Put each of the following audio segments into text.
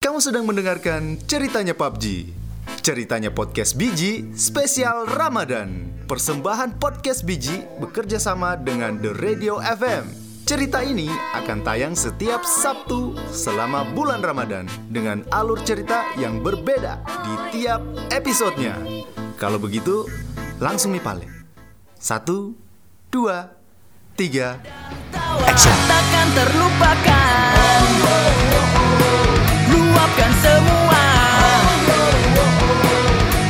Kamu sedang mendengarkan Ceritanya PUBG. Ceritanya Podcast Biji spesial Ramadan. Persembahan Podcast Biji bekerja sama dengan The Radio FM. Cerita ini akan tayang setiap Sabtu selama bulan Ramadan dengan alur cerita yang berbeda di tiap episodenya. Kalau begitu, langsung nih paling. Satu, dua, tiga, Takkan terlupakan Luapkan semua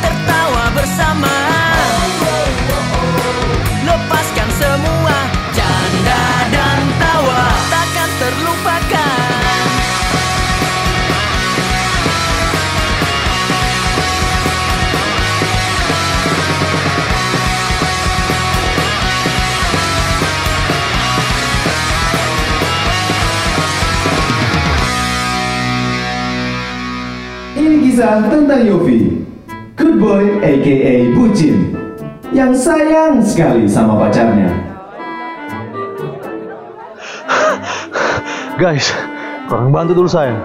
Tertawa bersama Lepaskan semua Canda dan tawa Takkan terlupakan Ini kisah tentang Yofi, good boy aka bucin, yang sayang sekali sama pacarnya. Guys, kurang bantu dulu saya.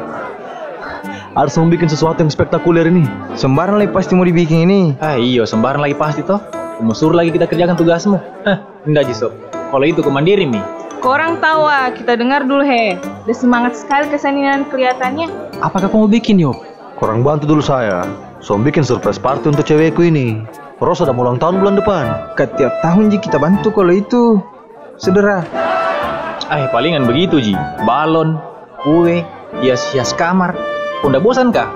Harus membuat sesuatu yang spektakuler ini. Sembarang lagi pasti mau dibikin ini. Ah iyo, sembarang lagi pasti toh. Mau suruh lagi kita kerjakan tugasmu. Hah, enggak Jisop. Kalau itu kemandiri Mi. Korang tawa, kita dengar dulu he. Udah semangat sekali kesenian kelihatannya. Apakah kamu bikin Yop? Kurang bantu dulu saya. So bikin surprise party untuk cewekku ini. Rosa udah mau ulang tahun bulan depan. Setiap tahun Ji kita bantu kalau itu. Saudara, Eh, palingan begitu Ji. Balon, kue, hias-hias kamar. Udah bosan kah?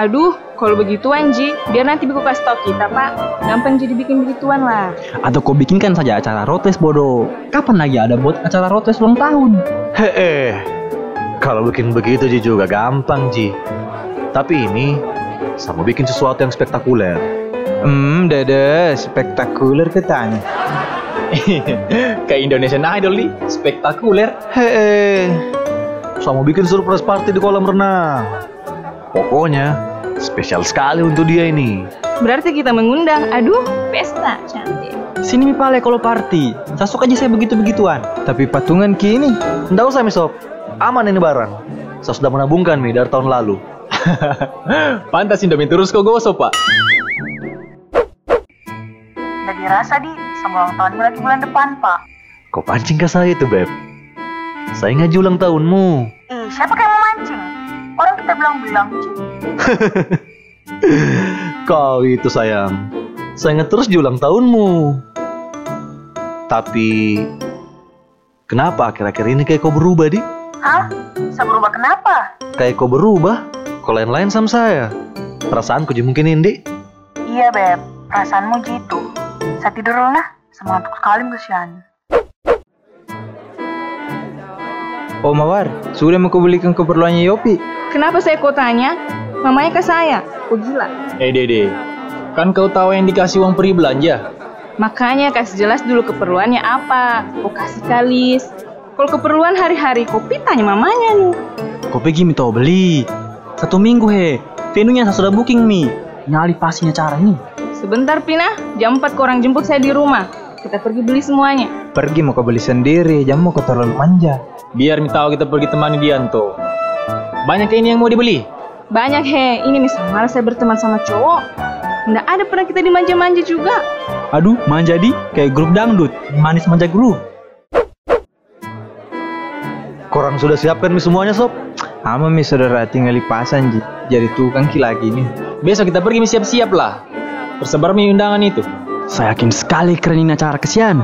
Aduh, kalau begituan Ji, biar nanti Biku kasih tau kita pak. Gampang jadi bikin begituan lah. Atau kau bikinkan saja acara rotes bodoh. Kapan lagi ada buat acara rotes ulang tahun? Heeh. Kalau bikin begitu Ji juga gampang Ji. Tapi ini sama bikin sesuatu yang spektakuler. hmm, dede, spektakuler katanya. Kayak Indonesian Idol nih, spektakuler. Heeh. Sama bikin surprise party di kolam renang. Pokoknya Ya, spesial sekali untuk dia ini. Berarti kita mengundang, aduh, pesta cantik. Sini mi pale kalau party. Sasuk aja saya begitu-begituan. Tapi patungan kini. Nggak usah Mi Sob. Aman ini barang. Saya sudah menabungkan Mi dari tahun lalu. Pantas Indomie terus kok gosok, Pak. Udah dirasa di sama ulang tahunmu lagi bulan depan pak Kau pancing ke saya itu Beb? Saya ngaji ulang tahunmu. Ih siapa kayak mau mancing Orang kita bilang-bilang Ci. Kau itu sayang. Saya ingat terus di ulang tahunmu. Tapi kenapa akhir-akhir ini kayak kau berubah di? Hah? Bisa berubah kenapa? Kayak kau berubah? Kau lain-lain sama saya. Perasaanku jadi mungkin Indi. Iya Beb Perasaanmu gitu Saya tidur dulu nah Semangat sekali kesian Oh Mawar, sudah mau kau belikan keperluannya Yopi. Kenapa saya kok tanya? Mamanya ke saya. Kok gila? Eh, Dede. Kan kau tahu yang dikasih uang peri belanja? Makanya kasih jelas dulu keperluannya apa. Kok kasih kalis. Kalau keperluan hari-hari, kopi tanya mamanya nih. Kau pergi mi tau beli. Satu minggu he. Venunya saya sudah booking mi. Nyali pastinya cara ini. Sebentar Pina, jam 4 korang jemput saya di rumah. Kita pergi beli semuanya. Pergi mau kau beli sendiri, jangan mau kau terlalu manja. Biar Mi tahu kita pergi temani Dianto. Banyak ini yang mau dibeli. Banyak he, ini misalnya malah saya berteman sama cowok. Nggak ada pernah kita dimanja-manja juga. Aduh, manja di kayak grup dangdut. Manis manja grup. Korang sudah siapkan mi semuanya sob? Ama mi saudara tinggal di pasan Ji. Jadi tukang ki lagi nih. Besok kita pergi Mi siap-siap lah. Tersebar Mi undangan itu. Saya yakin sekali keren ini acara kesian.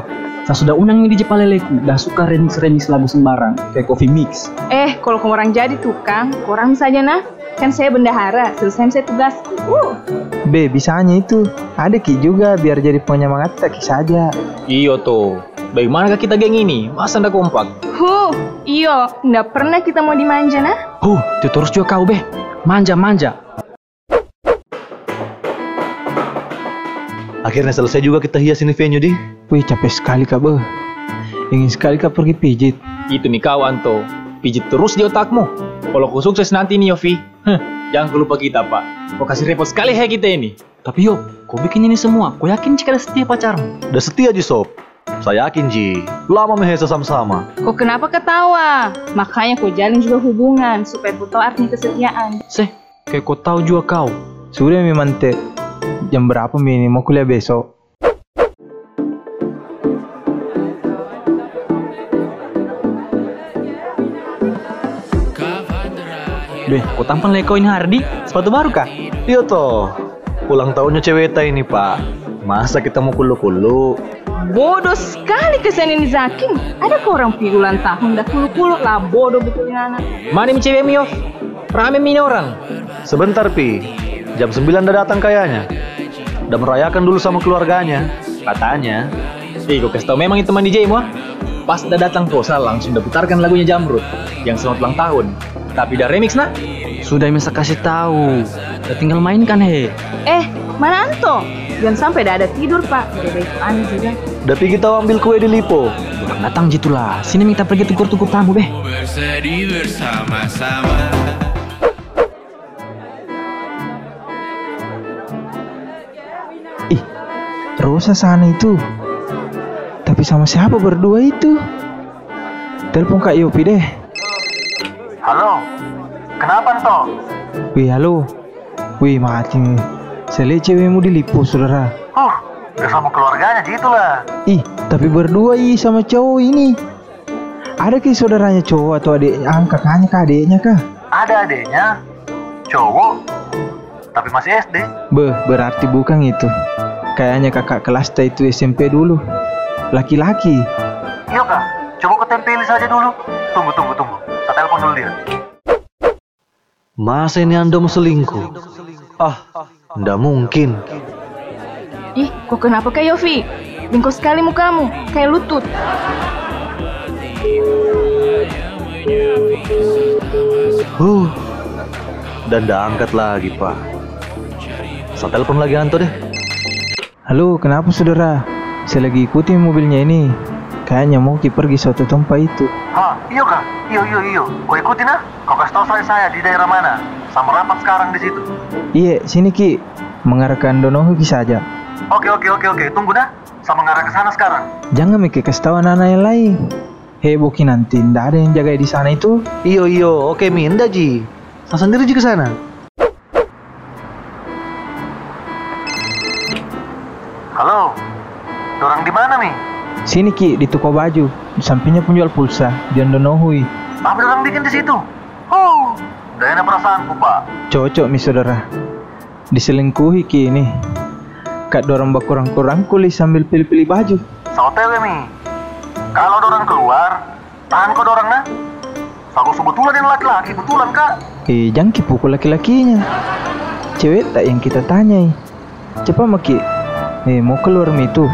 Saya sudah undang mi di Jepaleleku dan suka remix-remix lagu sembarang kayak coffee mix. Eh, kalau orang jadi tukang, kurang saja nah. Kan saya bendahara, selesai saya tugas. Uh, B, bisanya itu. Ada ki juga biar jadi penyemangat ki saja. Iyo toh. Bagaimanakah kita geng ini? Masa anda kompak? huh, iyo, nggak pernah kita mau dimanja nah. Huh, itu terus juga kau beh. Manja-manja. Akhirnya selesai juga kita hias ini venue di. Wih capek sekali kak beh. Ingin sekali kak pergi pijit. Itu Mi Gitu kawan toh. Pijit terus di otakmu. Kalau kau sukses nanti nih Yofi. Heh, jangan kau lupa kita pak. Kau kasih repot sekali ya kita ini. Tapi yuk, kau bikin ini semua. Kau yakin jika ada setiap pacarmu? Udah setia aja sob. Saya yakin Ji, lama ya mehesa sama-sama. Kok kenapa ketawa? Makanya kau jalin juga hubungan supaya kau tahu arti kesetiaan. Seh, kayak kau tahu juga kau. Sudah memang teh. Jam berapa Mini mau kuliah besok? Deh, kau tampan leko ini Hardi. Sepatu baru kah? Iya toh, ulang tahunnya Ceweta ini pak. Masa kita mau kulu-kulu? Bodoh sekali kesenian ini Zakim. Ada kau orang pi ulang tahun dah kulu-kulu lah bodoh betul ini anak. Mana mi cewek mi, Yof? Rame mi ini orang. Sebentar Pi, jam 9 udah datang kayaknya. Udah merayakan dulu sama keluarganya, katanya. Ih, gue kasih tau memang itu teman DJ Muah. Pas udah datang Kosa langsung udah putarkan lagunya Jamrut yang selamat ulang tahun. Tapi udah remix nah. Sudah bisa kasih tahu. Udah tinggal main kan he. Eh, mana Anto? Jangan sampai dah ada tidur pak. Udah itu aneh juga. Udah Pi kita ambil kue di Lipo. Orang datang jitulah. Sini minta pergi tukur-tukur tamu beh. Ih, Rosa sana itu. Tapi sama siapa berdua itu? Telepon Kak Yopi deh. Halo, kenapa toh? Wih, halo. Wih, mati nih. Saya lihat cewekmu dilipu, saudara. Huh, udah sama keluarganya gitu lah. Ih, tapi berdua ih sama cowok ini. Ada ke saudaranya cowok atau adik angkat hanya kah adiknya kah? Ada adeknya, cowok, tapi masih SD. Be, berarti bukan itu. Kayaknya kakak kelas teh itu SMP dulu. Laki-laki. Iya kak, coba kau tempeli saja dulu. Tunggu, tunggu, tunggu. Saya telepon dulu dia. Masa ini anda mau selingkuh? Ah, ndak mungkin. Ih, kok kenapa kayak Yofi? Bingkok sekali mukamu, kayak lutut. Huh, dan udah angkat lagi pak. Saya telepon lagi Anto deh. Halo, kenapa saudara? Saya lagi ikuti mobilnya ini. Kayaknya mau ki pergi suatu tempat itu. Hah, iya kak, iya iya iya. Kau ikutin ah. Kau kasih tahu saya saya di daerah mana. Sama rapat sekarang di situ. Iya, sini ki. Mengarahkan donohu ki saja. Oke oke oke oke. Tunggu dah. Sama ngarah ke sana sekarang. Jangan mikir kasih tahu anak-anak yang lain. Heboh ki nanti, ndak ada yang jaga di sana itu. Iyo iyo, oke minda Ji. Saya sendiri Ji ke sana. Halo, orang di mana nih? Sini ki di toko baju. Di sampingnya penjual pulsa. Jangan donohui. Apa orang bikin di situ? Oh, udah enak perasaanku pak. Cocok mi saudara. Diselingkuhi ki ini. Kak dorong berkurang-kurang kulis sambil pilih-pilih baju. Sotewe mi. Kalau ada orang keluar, tahan kau ada orang nah. Sago sebetulan yang laki-laki, betulan kak. Eh, jangan ki pukul laki-lakinya. Cewek tak yang kita tanyai. Cepat maki. Eh, mau keluar mi itu.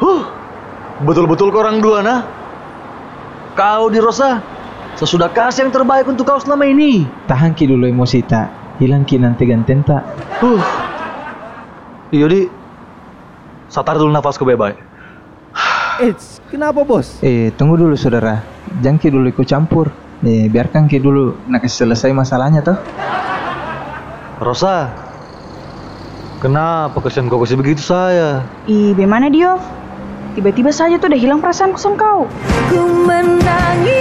Huh, betul-betul kau orang dua nah. Kau di Rosa, saya sudah kasih yang terbaik untuk kau selama ini. Tahan ki dulu emosi tak. Hilang ki nanti ganten tak. Huh. Iya di, saya tarik dulu nafasku baik-baik. Eh, tunggu dulu saudara. Jangan ki dulu ikut campur. Eh, biarkan ki dulu nak kasih selesai masalahnya toh. Rosa, kenapa kesian kau kasih begitu saya? Ih, bagaimana dia? Tiba-tiba saja tuh udah hilang perasaanku sama kau. Ku menangis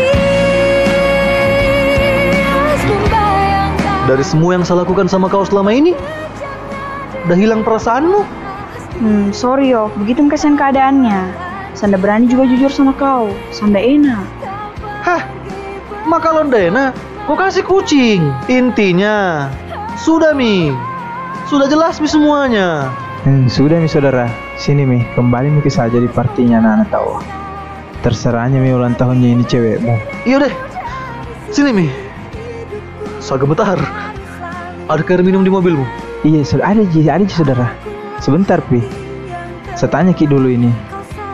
membayangkan Dari semua yang saya lakukan sama kau selama ini, udah hilang perasaanmu? Hmm, sorry yo, begitu kasihan keadaannya. Sanda berani juga jujur sama kau. Sanda enak. Hah, maka Londena, kau kasih kucing. Intinya, sudah mi, sudah jelas mi semuanya. Hmm, sudah mi saudara. Sini mi, kembali mi ke saja di partinya anak-anak tahu. Terserahnya mi ulang tahunnya ini cewekmu. Iya deh, sini mi. Saya gemetar. Ada air minum di mobilmu. Iya, saud- ada ji, ada ji saudara. Sebentar pi. Saya tanya ki dulu ini.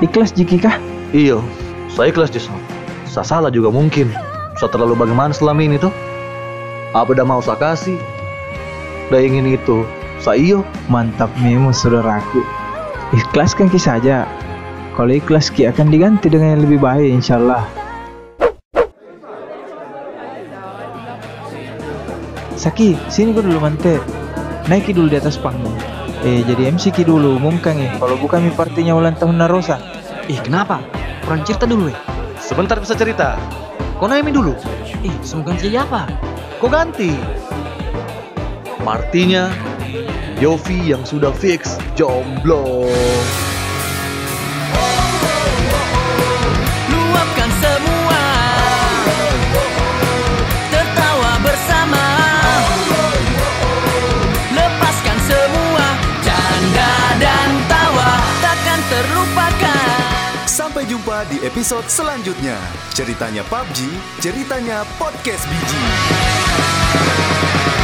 Ikhlas jiki kah? Iya, saya ikhlas Jis. Saya salah juga mungkin. Saya terlalu bagaimana selama ini tuh. Apa dah mau saya kasih? Dah ingin itu, iya. saya iyo. Mantap memo saudaraku. Ikhlaskan ki saja. Kalau ikhlas ki akan diganti dengan yang lebih baik insyaallah. Saki, sini gue dulu mante. Naiki dulu di atas panggung. Eh, jadi MC Ki dulu, mungkang ya. Kalau bukan mi partinya ulang tahun Narosa. Ih, kenapa? Kurang cerita dulu ya. Sebentar bisa cerita. Kau naik dulu. Ih, semoga ya, siapa? Kau ganti. Martinya Yofi yang sudah fix jomblo. Luapkan semua Tertawa bersama Lepaskan semua Canda dan tawa Takkan terlupakan Sampai jumpa di episode selanjutnya. Ceritanya PUBG, ceritanya Podcast Biji.